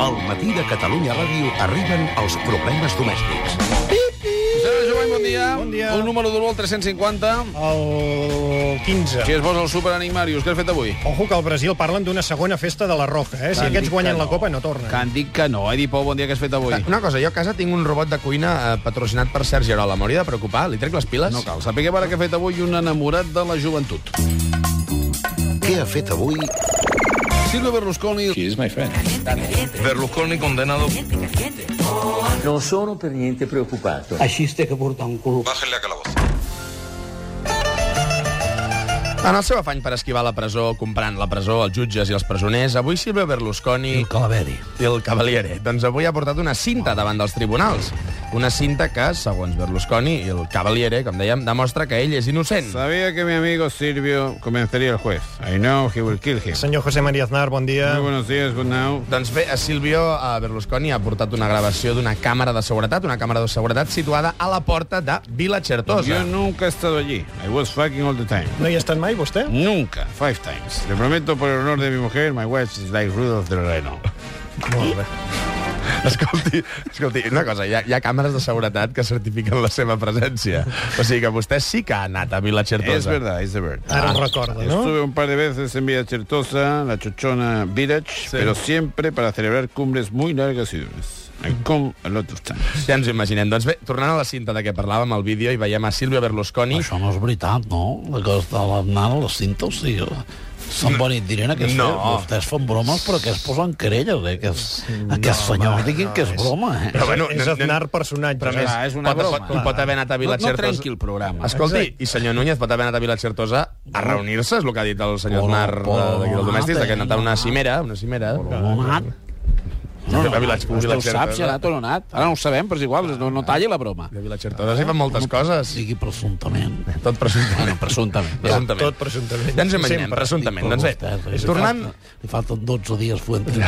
Al matí de Catalunya Ràdio arriben els problemes domèstics. Senyora Jovany, bon dia. Bon dia. Un número d'un al 350. El 15. Si es posa el Super Enigmarius, què has fet avui? Ojo que al Brasil parlen d'una segona festa de la Roca, eh? Si Tant aquests dic guanyen que la no. copa, no tornen. Que han dit que no. Edi Pou, bon dia, què has fet avui? Una cosa, jo a casa tinc un robot de cuina eh, patrocinat per Sergi Arola. M'hauria de preocupar? Li trec les piles? No cal. Sapiguem ara què ha fet avui un enamorat de la joventut. Què ha fet avui Silvio Berlusconi... She is my friend. Berlusconi condenado. Non sono per niente preoccupato. En el seu afany per esquivar la presó, comprant la presó, els jutges i els presoners, avui Silvio Berlusconi... El Calaveri. El Cavaliere. Doncs avui ha portat una cinta davant dels tribunals. Una cinta que, segons Berlusconi i el Cavaliere, com dèiem, demostra que ell és innocent. Sabia que mi amigo Silvio comenzaría el juez. I know he will kill him. Senyor José María Aznar, bon dia. Muy buenos días, good now. Doncs bé, a Silvio a Berlusconi ha portat una gravació d'una càmera de seguretat, una càmera de seguretat situada a la porta de Vila Certosa. Yo nunca he estado allí. I was fucking all the time. No hi ha estat mai, vostè? Nunca. Five times. Le prometo por el honor de mi mujer, my wife is like Rudolph del Reno. Molt bé. Escolti, escolti, una cosa, hi ha, hi ha càmeres de seguretat que certifiquen la seva presència. O sigui que vostè sí que ha anat a Vila Certosa. Es verdad, es de verdad. Ara ho recorda, no? Estuve un par de veces en Villa Certosa, la Chochona Village, pero siempre para celebrar cumbres muy largas y duras. I Mm. come a lot of times. Ja ens ho imaginem. Doncs bé, tornant a la cinta de què parlàvem, al vídeo, i veiem a Silvio Berlusconi... Això no és veritat, no? La cosa de l'Aznar a la cinta, o sigui... Són bonic, dirien que No. no. vostès fan bromes, però que es posen querelles, eh? Que es, aquests senyors diguin que és broma, eh? Però bueno, És anem- anem- Aznar personatge. Però a més, Clar, és una pot, broma. pot, pot haver anat a Vila No- no trenqui el programa. Ah, Escolti, i senyor Núñez pot haver anat a Vila Certosa a reunir-se, és el que ha dit el senyor Aznar Hola, de- d'aquí del domèstic, que ha anat a una cimera, una cimera. No ha anat. No, no, Vila- no, Vila- vostè ho sap, si ha anat o no ha anat. Ara no ho sabem, però és igual, no, no talli la broma. A Vila Certosa s'hi fan moltes coses. Digui presumptament. Tot presumptament. Presumptament. Presumptament. Tot presumptament. Ja ens ho imaginem, Sempre. presumptament. Doncs bé, Vostè, tornant... eh? Li falten 12 dies fuentes.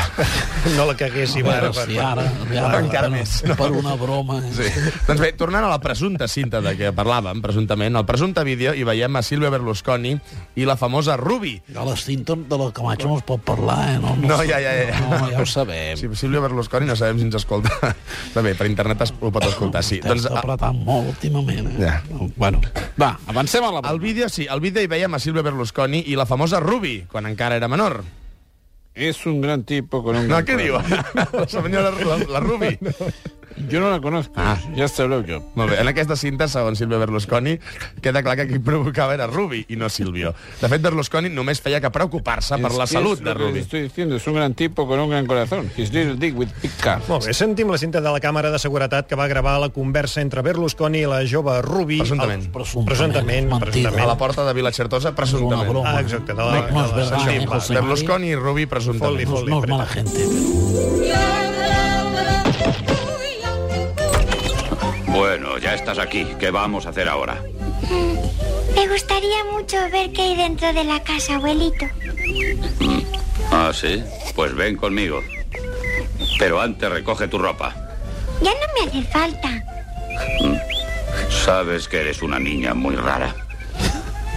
No la caguéssim ara. Ara, per- sí, ara, ara, Encara per- més. Per una broma. eh? Sí. doncs bé, tornant a la presumpta cinta de què parlàvem, presumptament, al presumpte vídeo hi veiem a Silvia Berlusconi i la famosa Ruby. De les Tinton de la Camacho no es pot parlar, eh? No, no, No, ja, ja, ja. No, no, ja ho sabem. Sí, Sí, Silvia Berlusconi no sabem si ens escolta. També, per internet es, ho pot escoltar, sí. T'has Doncs doncs, a- apretat molt últimament, eh? Ja. Bueno, va, avancem a la... al vídeo, sí, al vídeo hi veiem a Silvia Berlusconi i la famosa Ruby, quan encara era menor. Es un gran tipo con un No, gran què diu? corazón. La senyora, la, la Ruby. Yo no la conozco. Ah. Ya se habló yo. Molt bé, en aquesta cinta, segons Silvio Berlusconi, queda clar que qui provocava era Rubi i no Silvio. De fet, Berlusconi només feia que Ah, preocupar-se per la Es que es salut lo de que les Rubi. Estoy diciendo, es un gran tipo con un gran corazón. His little dick with big cock. Molt bé, sentim la cinta de la càmera de seguretat que va gravar la conversa entre Berlusconi i la jove Rubi. Presumptament. Al- Presumptament. Presumptament, Mentida. A la presumptament. porta de Vila Certosa, Una presumptament. broma. Ah, exacte, de la- No, no és de la- verdad, eh, Sí, José María? Berlusconi i Rubi, Fot-li, presumptament. fot-li. No, no és mala gente, però... Bueno, ya estás aquí. ¿Qué vamos a hacer ahora? Me gustaría mucho ver qué hay dentro de la casa, abuelito. Ah, sí. Pues ven conmigo. Pero antes recoge tu ropa. Ya no me hace falta. Sabes que eres una niña muy rara.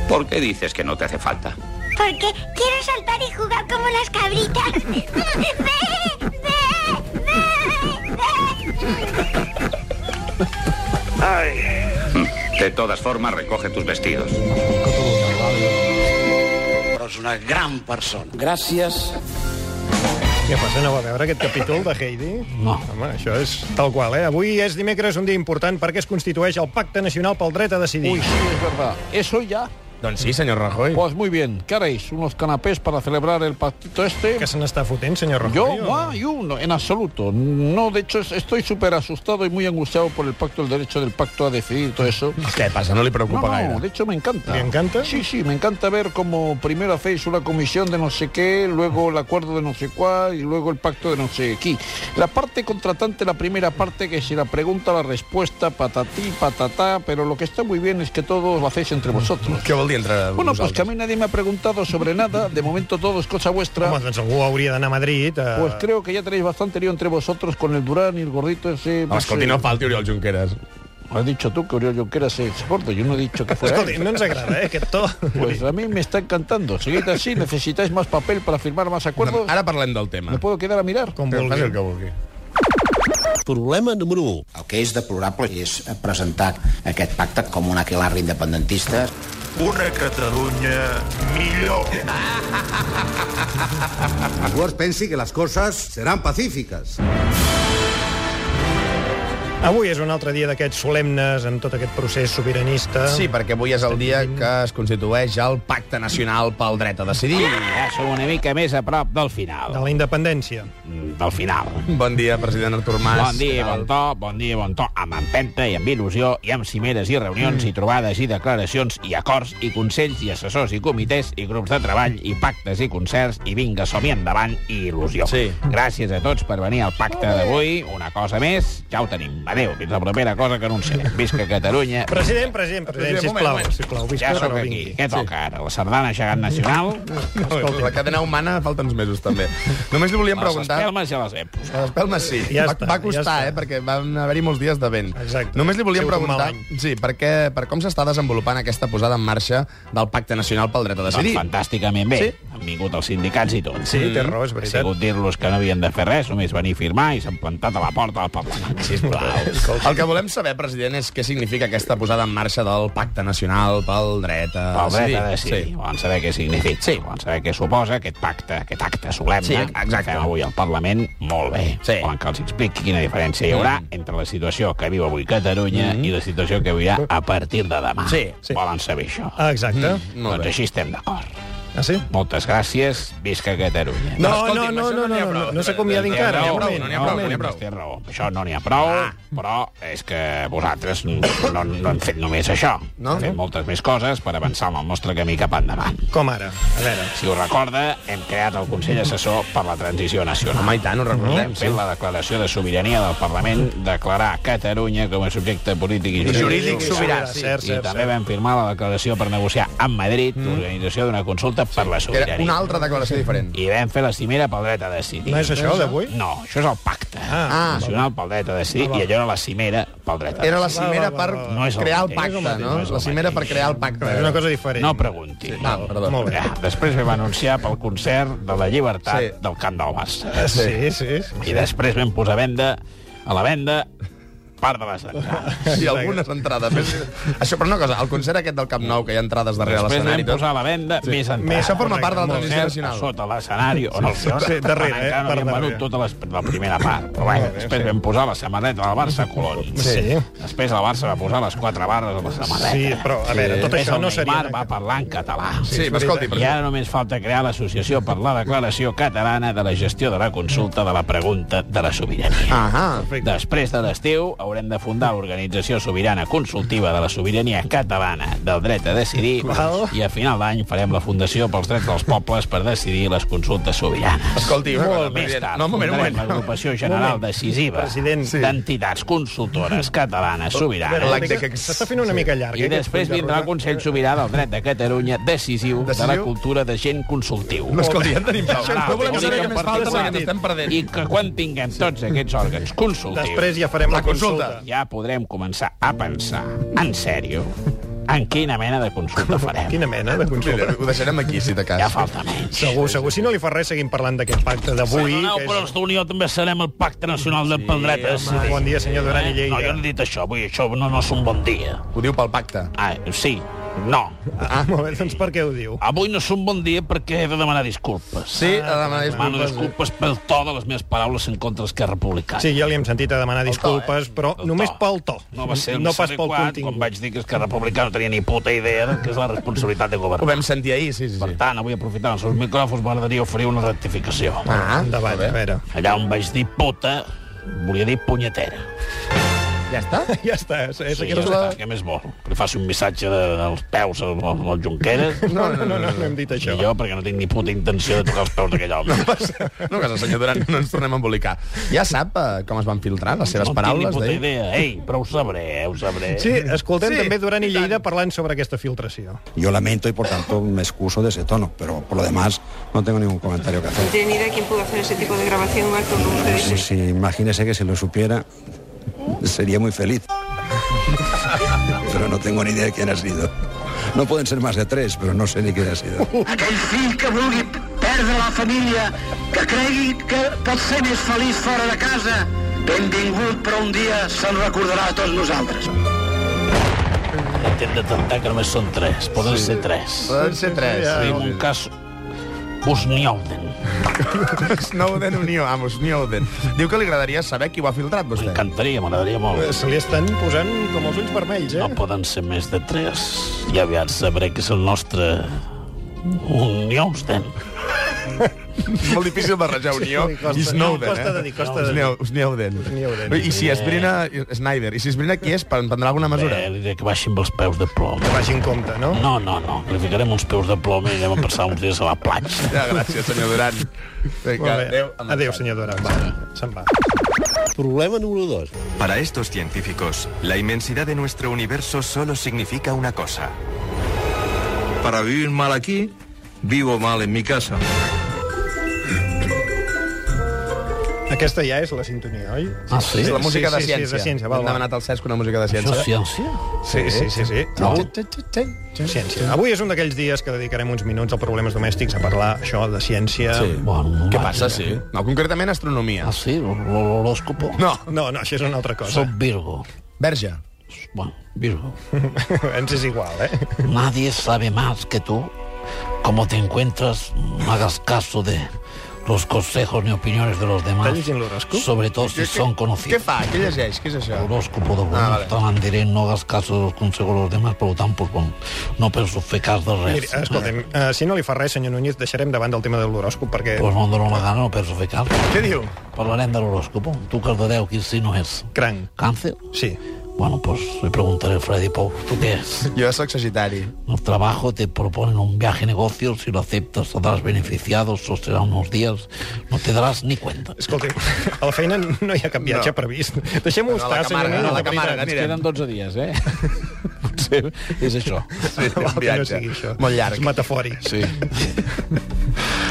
¿Por qué dices que no te hace falta? Porque quiero saltar y jugar como las cabritas. ¡Ve! ¡Ve! ¡Ve! ¡Ve! De todas formas, recoge tus vestidos. Però és una gran persona. Gràcies. Què passa? Aneu a veure aquest capítol de Heidi? No. Home, això és tal qual, eh? Avui és dimecres, un dia important, perquè es constitueix el Pacte Nacional pel Dret a Decidir. Uy, sí, es verdad. Eso ya. Doncs sí, senyor Rajoy. Pues muy bien. ¿Qué haréis? ¿Unos canapés para celebrar el pactito este? Que se n'està fotent, senyor Rajoy? Yo, o no? guau, no, en absoluto. No, de hecho, es- estoy súper asustado y muy angustiado por el pacto, el derecho del pacto a decidir, todo eso. Què passa? No li No, preocupa no, de gaire. hecho me encanta. ¿Le encanta? Sí, sí, me encanta ver como primero hacéis una comisión de no sé qué, luego el acuerdo de no sé cuál y luego el pacto de no sé qué. La parte contratante, la primera parte, que si la pregunta, la respuesta, patatí, patatá, pero lo que está muy bien es que todos lo hacéis entre vosotros. Què vol dir entre Bueno, pues que vosaltres? a mí nadie me ha preguntado sobre nada, de momento todo es cosa vuestra. Home, doncs algú hauria d'anar a Madrid. Eh... Pues creo que ya tenéis bastante lío entre vosotros con el Durán y el gordito ese. Home, escolti, sé. no falti Oriol Junqueras. Has dicho tú que Oriol Junqueras se es gordo. Yo no he dicho que fuera Escolti, él. no ens agrada, eh, aquest to. Pues a mí me está encantando. Seguid así, necesitáis más papel para firmar más acuerdos. Ara parlem del tema. ¿Me puedo quedar a mirar? Com Faci vulgui. el que vulgui. Problema número 1. El que és deplorable és presentar aquest pacte com un aquelarre independentista. Vos pensi que les coses seran pacífiques. Avui és un altre dia d'aquests solemnes en tot aquest procés sobiranista. Sí, perquè avui és el dia que es constitueix el Pacte Nacional pel Dret a Decidir. Ja som una mica més a prop del final. Mm, De la independència. Del final. Bon dia, president Artur Mas. Bon dia, i bon to, bon dia, i bon to, amb empenta i amb il·lusió, i amb cimeres i reunions, i trobades i declaracions, i acords, i consells, i assessors, i comitès, i grups de treball, i pactes i concerts, i vinga, som endavant, i il·lusió. Sí. Gràcies a tots per venir al pacte d'avui. Una cosa més, ja ho tenim. Adéu, fins la propera cosa que anunciem. Visca Catalunya. President, president, president, President, un moment, sisplau. un moment. sisplau visca, Ja sóc però aquí. Mm-hmm. vingui. Què toca ara? La sardana gegant nacional? Escolta, la cadena humana falta uns mesos, també. Només li volíem Les preguntar... espelmes ja les he posat. Les espelmes sí. Ah, Ja va, està, va ja costar, està. eh, perquè van haver-hi molts dies de vent. Exacte. Només li volíem Ha sigut un mal preguntar... any. Sí, perquè, per com s'està desenvolupant aquesta posada en marxa del Pacte Nacional pel Dret a Doncs Decidir. fantàsticament bé. Sí. Han vingut els sindicats i tot. Sí, té raó, és He veritat. sigut dir-los que no havien de fer res, només venir a firmar i s'han plantat a la porta del Parlament. Sisplau. El que volem saber, president, és què significa aquesta posada en marxa del Pacte Nacional pel Dret a El dret a Decidir. decidir. Sí. Volen saber què significa. Sí. Volen saber què suposa aquest pacte, aquest acte solemne Sí, exacte. que fem avui al Parlament. Molt bé. Sí. Volen que els expliqui quina diferència hi haurà entre la situació que viu avui Catalunya i la situació que viurà a partir de demà. Mm-hmm. Sí, sí. Volen saber això. Ah, exacte. Molt doncs bé. així estem d'acord. Ah, sí? Moltes gràcies. Visca Catalunya. No, escolti'm, no, no, això no, n'hi ha no, prou. no, no s'acomiadi Eh, No, encara, No n'hi ha un prou, moment, no n'hi ha un prou, moment. no n'hi ha prou. Té raó. Això no n'hi ha prou, però és que vosaltres no, no hem fet només això. No? Hem fet moltes més coses per avançar en el nostre camí cap endavant. Com ara? A veure. Si us recorda, hem creat el Consell Assessor per la Transició Nacional. Home, i tant, ho recordem, Hem fet la declaració de sobirania del Parlament, declarar Catalunya com a subjecte polític i jurídic. Jurídic sobirà, sí. Cert, I cert, també cert. vam firmar la declaració per negociar amb Madrid l'organització d'una consulta per la Que Era sobirania. una altra declaració diferent. I vam fer la cimera pel dret a decidir. No és això d'avui? No, això és el pacte Ah. ah, nacional pel dret a decidir i allò era la cimera pel dret a decidir. Era la Va, cimera va, va, per va, va. No és el crear el mateix. No pacte, és el mateix, no? no és el La cimera per mateix. crear el pacte. És una cosa diferent. No pregunti. Va, perdó. Ah, Molt bé. Ja, després vam anunciar pel concert de la llibertat Sí. del Camp del Bas. Ah, Sí, sí. sí. I després vam posar a venda a la venda part de les entrades. Sí, algunes entrades. Més... Això, però una cosa, el concert aquest del Camp Nou, que hi ha entrades darrere Després l'escenari... vam i tot, doncs. posar a la venda sí. més entrades. Això forma part de la Molt transició cert, nacional. a Sota l'escenari, on el Girona sí, darrere, eh, encara no part havien darrere. venut tota les, la primera part. Però bé, després vam posar la samarreta del Barça a Colón. Sí. Després el Barça va posar les quatre barres a la samarreta. Sí, però, a veure, tot Després això el no seria... Neymar va parlar en català. Sí, però escolti, I president. ara només falta crear l'Associació per la Declaració Catalana de la Gestió de la Consulta de la Pregunta de la Sobirania. Ahà. Després de l'estiu haurem de fundar l'Organització Sobirana Consultiva de la Sobirania Catalana del Dret a Decidir Val. i a final d'any farem la Fundació pels Drets dels Pobles per decidir les consultes sobiranes. Escolti, una cosa, Més president. tard, No, un moment, un fundarem moment. l'agrupació general Moment. decisiva President. Sí. d'entitats consultores catalanes sobiranes La- Una mica- que- S'està fent una mica eh, llarg. i després vindrà el Consell Sobirà del Dret de Catalunya decisiu, Decisiu? de la cultura de gent consultiu. No, escolti, ja en tenim prou. Això No volem vol dir saber que què més en falta perquè partit- ens estem perdent. I que quan tinguem tots aquests òrgans consultius, Després ja farem la La consulta. consulta. ja podrem començar a pensar, en sèrio, en quina mena de consulta farem. Quina mena de consulta. Ho deixarem aquí, si de Ja cas. falta menys. Segur, segur. Si no li fa res, seguim parlant d'aquest pacte d'avui. Perdoneu, que és- però els d'Unió també serem el Pacte Nacional del Pel Dret a Decidir. Bon dia, senyor Duran i Eh? Lleida. No, jo no he dit això, vull dir, això no, no és un bon dia. Ho diu pel pacte. Ah, sí, no. Ah, molt bé, doncs per què ho diu? Avui no és un bon dia perquè he de demanar disculpes. Sí, a demanar Demano disculpes. disculpes pel to de les meves paraules en contra d'Esquerra Republicana. eh? Sí, ja li hem sentit a demanar disculpes, però eh? El només to. pel to. No va ser el no més pas pel adequat contingut. quan vaig dir que Esquerra Republicana no tenia ni puta idea de que és la responsabilitat de Ho governar. vam sentir ahir, sí, sí. Per sí. tant, avui aprofitant els seus micròfons m'agradaria oferir una rectificació. Ah, Endavant, a veure. Allà on vaig dir puta, volia dir punyetera. ja està? Ja està, és, és Sí, sí, ja aquesta està, la... què més vol? Que li faci un missatge de, dels peus al, al, al Junqueras? No, no, no, no, no hem dit això. I jo, perquè no tinc ni puta intenció de tocar els peus d'aquell home. No, casa, senyor Duran, no ens tornem a embolicar. Ja sap eh, com es van filtrar les seves no paraules tinc ni puta d'ahir? idea. Ei, però ho sabré, eh, ho sabré. eh? Sí, escoltem Sí, també Duran i i tant. Lleida parlant sobre aquesta filtració. Yo lamento y por tanto me excuso de ese tono, pero por lo demás no tengo ningún comentario que hacer. tiene idea quién pudo hacer ese tipo de grabación mal como ustedes. Si, si- imagínese que si lo supiera, sería muy feliz. Pero no tengo ni idea de quién ha sido. No pueden ser más de tres, pero no sé ni quién ha sido. Aquell fill que vulgui perdre la família, que cregui que pot ser més feliç fora de casa, benvingut, però un dia se'n recordarà a tots nosaltres. Hem de tentar que només són tres. Poden Sí. ser tres. Ah, Poden ser tres. Sí, Sí, en sí. un cas... Busnioden. Snowden Unió, ah, Snowden. Diu que li agradaria saber qui ho ha filtrat, vostè. M'encantaria, m'agradaria Eh, molt. Se li estan posant com els ulls vermells, eh? No poden ser més de tres. I aviat sabré que és el nostre... Unióden. És molt difícil barrejar Unió Sí, costa- i Snowden, costa eh? de dir, costa de Snow- Snowden. Snowden. I si esbrina... Snyder. I si esbrina qui és, prendrà alguna mesura? Bé, Eh, li diré que baixi amb els peus de plom. Que vagi en compte, no? No, no, no. Li ficarem uns peus de plom i anem a passar uns dies a la platja. Ja, gràcies, senyor Duran. Molt bé. Adéu, senyor Dora. Va, se'n va. Problema número 2. Para estos científicos, la inmensidad de nuestro universo solo significa una cosa. Para vivir mal aquí, vivo mal en mi casa. Aquesta ja és la sintonia, oi? Ah, És la música de Sí, ciència. sí, de ciència. Hem Val, val. demanat al Cesc una música de ciència. Això és ciència? Sí, sí, sí. sí. No. Ah, Ciència. Avui és un d'aquells dies que dedicarem uns minuts a problemes domèstics a parlar, això, de ciència. Sí. Bueno, Què passa, sí? No, concretament astronomia. Ah, sí? L'horòscopo? No. No, no, això és una altra cosa. Soc Virgo. Verge. Bueno, Virgo. Ens és igual, eh? Nadie sabe más que tú cómo te encuentras. No hagas caso de los consejos ni opiniones de los demás. Estàs llegint l'horòscop? Sobre todo si Què- son què- conocidos. Què fa? Què llegeix? Què és això? Horóscopo de Ah, bueno, vale. tan diré, no hagas caso de los consejos de los demás, por lo tanto, pues, bueno, no penso fer cas de res. Miri, escolta'm, eh, si no li fa res, senyor Núñez, deixarem davant del tema de l'horòscop, perquè... Pues no em dono la gana, no penso fer cas. Què diu? Parlarem de l'horòscopo. Tu, Cardedeu, quin signo és? Cranc. Càncer? Sí. Bueno, pues le preguntaré a Freddy Pou, ¿tú qué es? Yo soy Sagitario. El trabajo te proponen un viaje negocio, si lo aceptas saldrás beneficiado, sostendrá unos días, no te darás ni cuenta. Escolta'm, a la feina no hi ha cap viatge No. no. previst. Deixem-ho Però a la estar, senyor Camarga, Núñez. a la de Camarga, veritat. ens queden 12 dies, eh? Pues, Potser eh, és això. Sí, un Val que no viatge. sigui això. Molt llarg. És metafòric. Sí.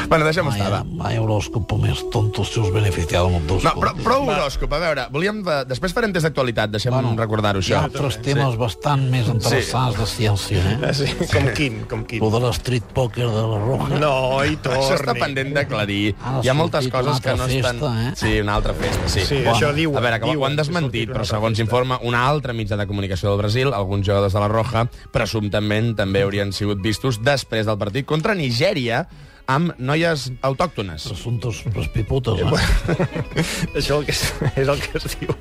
bueno, deixem estar, va. Mai horóscopo més tonto si us beneficiado amb dos No, però, prou horòscop. A veure, volíem... De... Després farem test d'actualitat, deixem bueno, recordar-ho, Hi ha això. altres temes bastant més interessants de ciència, eh? Ah, sí. Com quin, com quin? Lo de l'street poker de la Roja. No, i torni. Això està pendent d'aclarir. Ara Hi ha moltes sortit coses una que no altra estan... festa, eh? Sí, una altra festa, sí. Sí, això diuen, A veure, que ho diuen han desmentit, però segons informa una altra mitja de comunicació del Brasil, alguns jugadors de la Roja presumptament també haurien sigut vistos després del partit contra Nigèria amb noies autòctones. Presumptos piputes, eh? Això el que és, és el que es diu.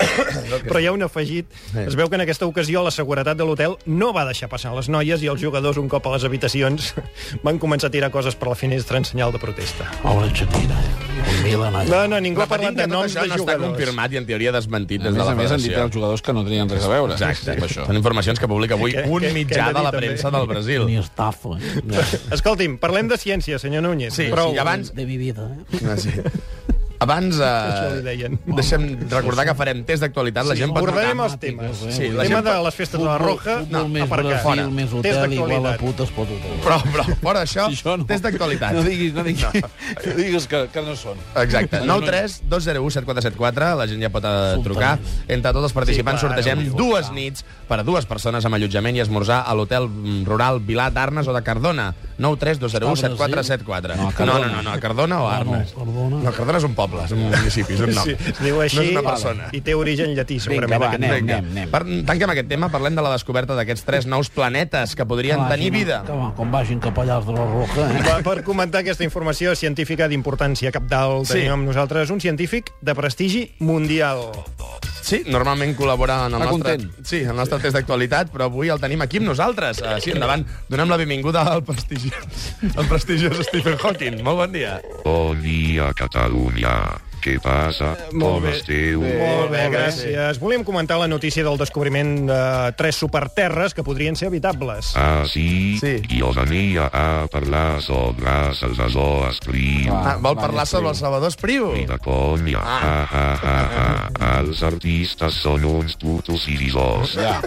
Però hi ha un afegit. Es veu que en aquesta ocasió la seguretat de l'hotel no va deixar passar les noies i els jugadors, un cop a les habitacions, van començar a tirar coses per la finestra en senyal de protesta. Pobre Shakira, eh? Un Milan, allà. No, no, ningú ha Repetint parlat de que tot noms això de no està jugadors. confirmat i en teoria desmentit A des de més la a més, han dit federació. els jugadors que no tenien res a veure. Exacte. amb això. Són informacions que publica avui Que- un que- que mitjà hem de de la dir premsa també. del Brasil. Ni estafo, eh? Escolti'm, parlem de ciència, senyor Núñez. Sí, Prou. sí, abans- De mi vida, eh? Ah, sí. Abans, Això li eh, deien. deixem recordar que farem test d'actualitat. La Sí, gent pot abordarem Ah, trucar. els temes. eh? Sí, El la tema gent pot- de les festes de la Roja, no, més aparcar. Brasil, Fora. més Test hotel, igual d'actualitat. a puta es pot hotel. Però, però, fora d'això, Si això no- test d'actualitat. No diguis, no diguis, no diguis Pues que, que no són. Exacte. No, no, 93 201 7474, la gent ja pot eh, trucar. Entre tots els participants Sí, clar, sortegem no vull dues nits per a dues persones amb allotjament i esmorzar a l'hotel mm, rural Vilar d'Arnes o de Cardona. 93 201 7474. No, a No, Cardona. no, no, no, a Cardona o a Arnes. Perdona. No, Cardona és un poble, és un municipi, és un nom. Sí, es diu així no és una persona. i té origen llatí, segurament. aquest nom. Per, tanquem aquest tema, parlem de la descoberta d'aquests tres nous planetes que podrien Imagina, tenir vida. Que, va, com vagin cap allà els de la Roja, eh? Va, per comentar aquesta informació científica d'importància capdalt, Sí. sí. tenim amb nosaltres un científic de prestigi mundial. Sí, normalment col·labora en el, Està nostre, sí, en el nostre test d'actualitat, però avui el tenim aquí amb nosaltres. Eh, Sí, endavant. Donem la benvinguda al prestigiós, al prestigiós Stephen Hawking. Molt bon dia. Bon dia, Catalunya. Què passa? Com esteu? Molt bé, gràcies. Volíem comentar la notícia del descobriment de tres superterres que podrien ser habitables. Ah, sí? sí? Jo venia a parlar sobre Salvador Espriu. Ah, vol parlar sobre el Salvador Espriu? Ni de conya. Ah. Ah, ah, ah, ah. Els artistes són uns putos irisors. Ja.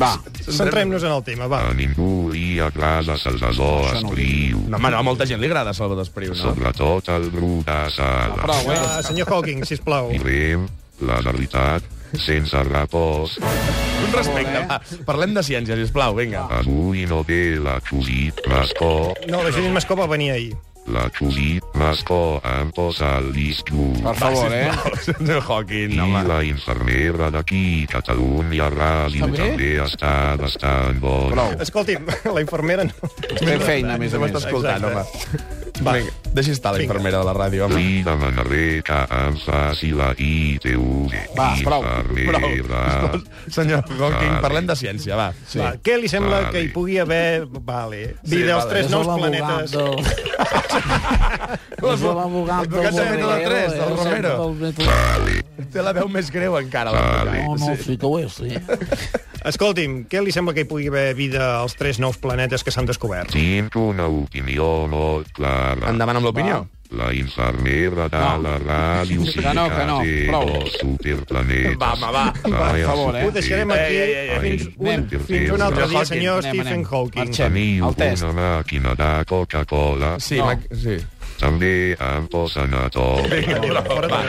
Va. Centrem-nos en el tema, va. A ningú li agrada Salvador Espriu. No, home, no, a molta gent li agrada Salvador Espriu, no? Sobretot el Bru de Sala. eh? Ah, senyor Hawking, sisplau. Rem, la veritat, sense repòs. Un respecte, va. Parlem de ciència, sisplau, vinga. Avui no ve la Xusí Mascó. No, la Judit Mascó va venir ahir. La Xusí Mascó em posa el disc Per favor, eh? Senyor Hawking, I la infermera d'aquí, Catalunya Ràdio, També? també? està bastant bona. Escolti'm, la infermera no... Fem feina, a més a No més. m'està escoltant, home. Va. Vinga, deixi estar la infermera de la ràdio, home. Li demanaré que em faci la ITV. Va, prou, infermera. prou. Oh, Senyor Hawking, parlem de ciència, va. Sí. Va, què li sembla Vale. que hi pugui haver... Vale. Sí, Vida als vale. tres Jo nous sóc planetes. Les- Això va bugar les del vocats de Romero, Método tres, del eh? Romero. Del Té la veu més greu encara. La No, no, sí que ho és, sí. Escolti'm, què li sembla que hi pugui haver vida als tres nous planetes que s'han descobert? Tinc una opinió molt clara. Endavant amb l'opinió. La infermera de no. la ràdio sí Que no, que no, té prou. dos superplanetes. Va, home, va. La Per favor, eh? superterra. Ho deixarem aquí Ai, ai, ai, fins ai. un- Anem, fins un altre anem. dia, senyor Anem, Stephen anem. Hawking. Marxem. Teniu El test. una màquina de Coca-Cola. Sí, No. ma- sí. També em posen a tot. Vinga, Va.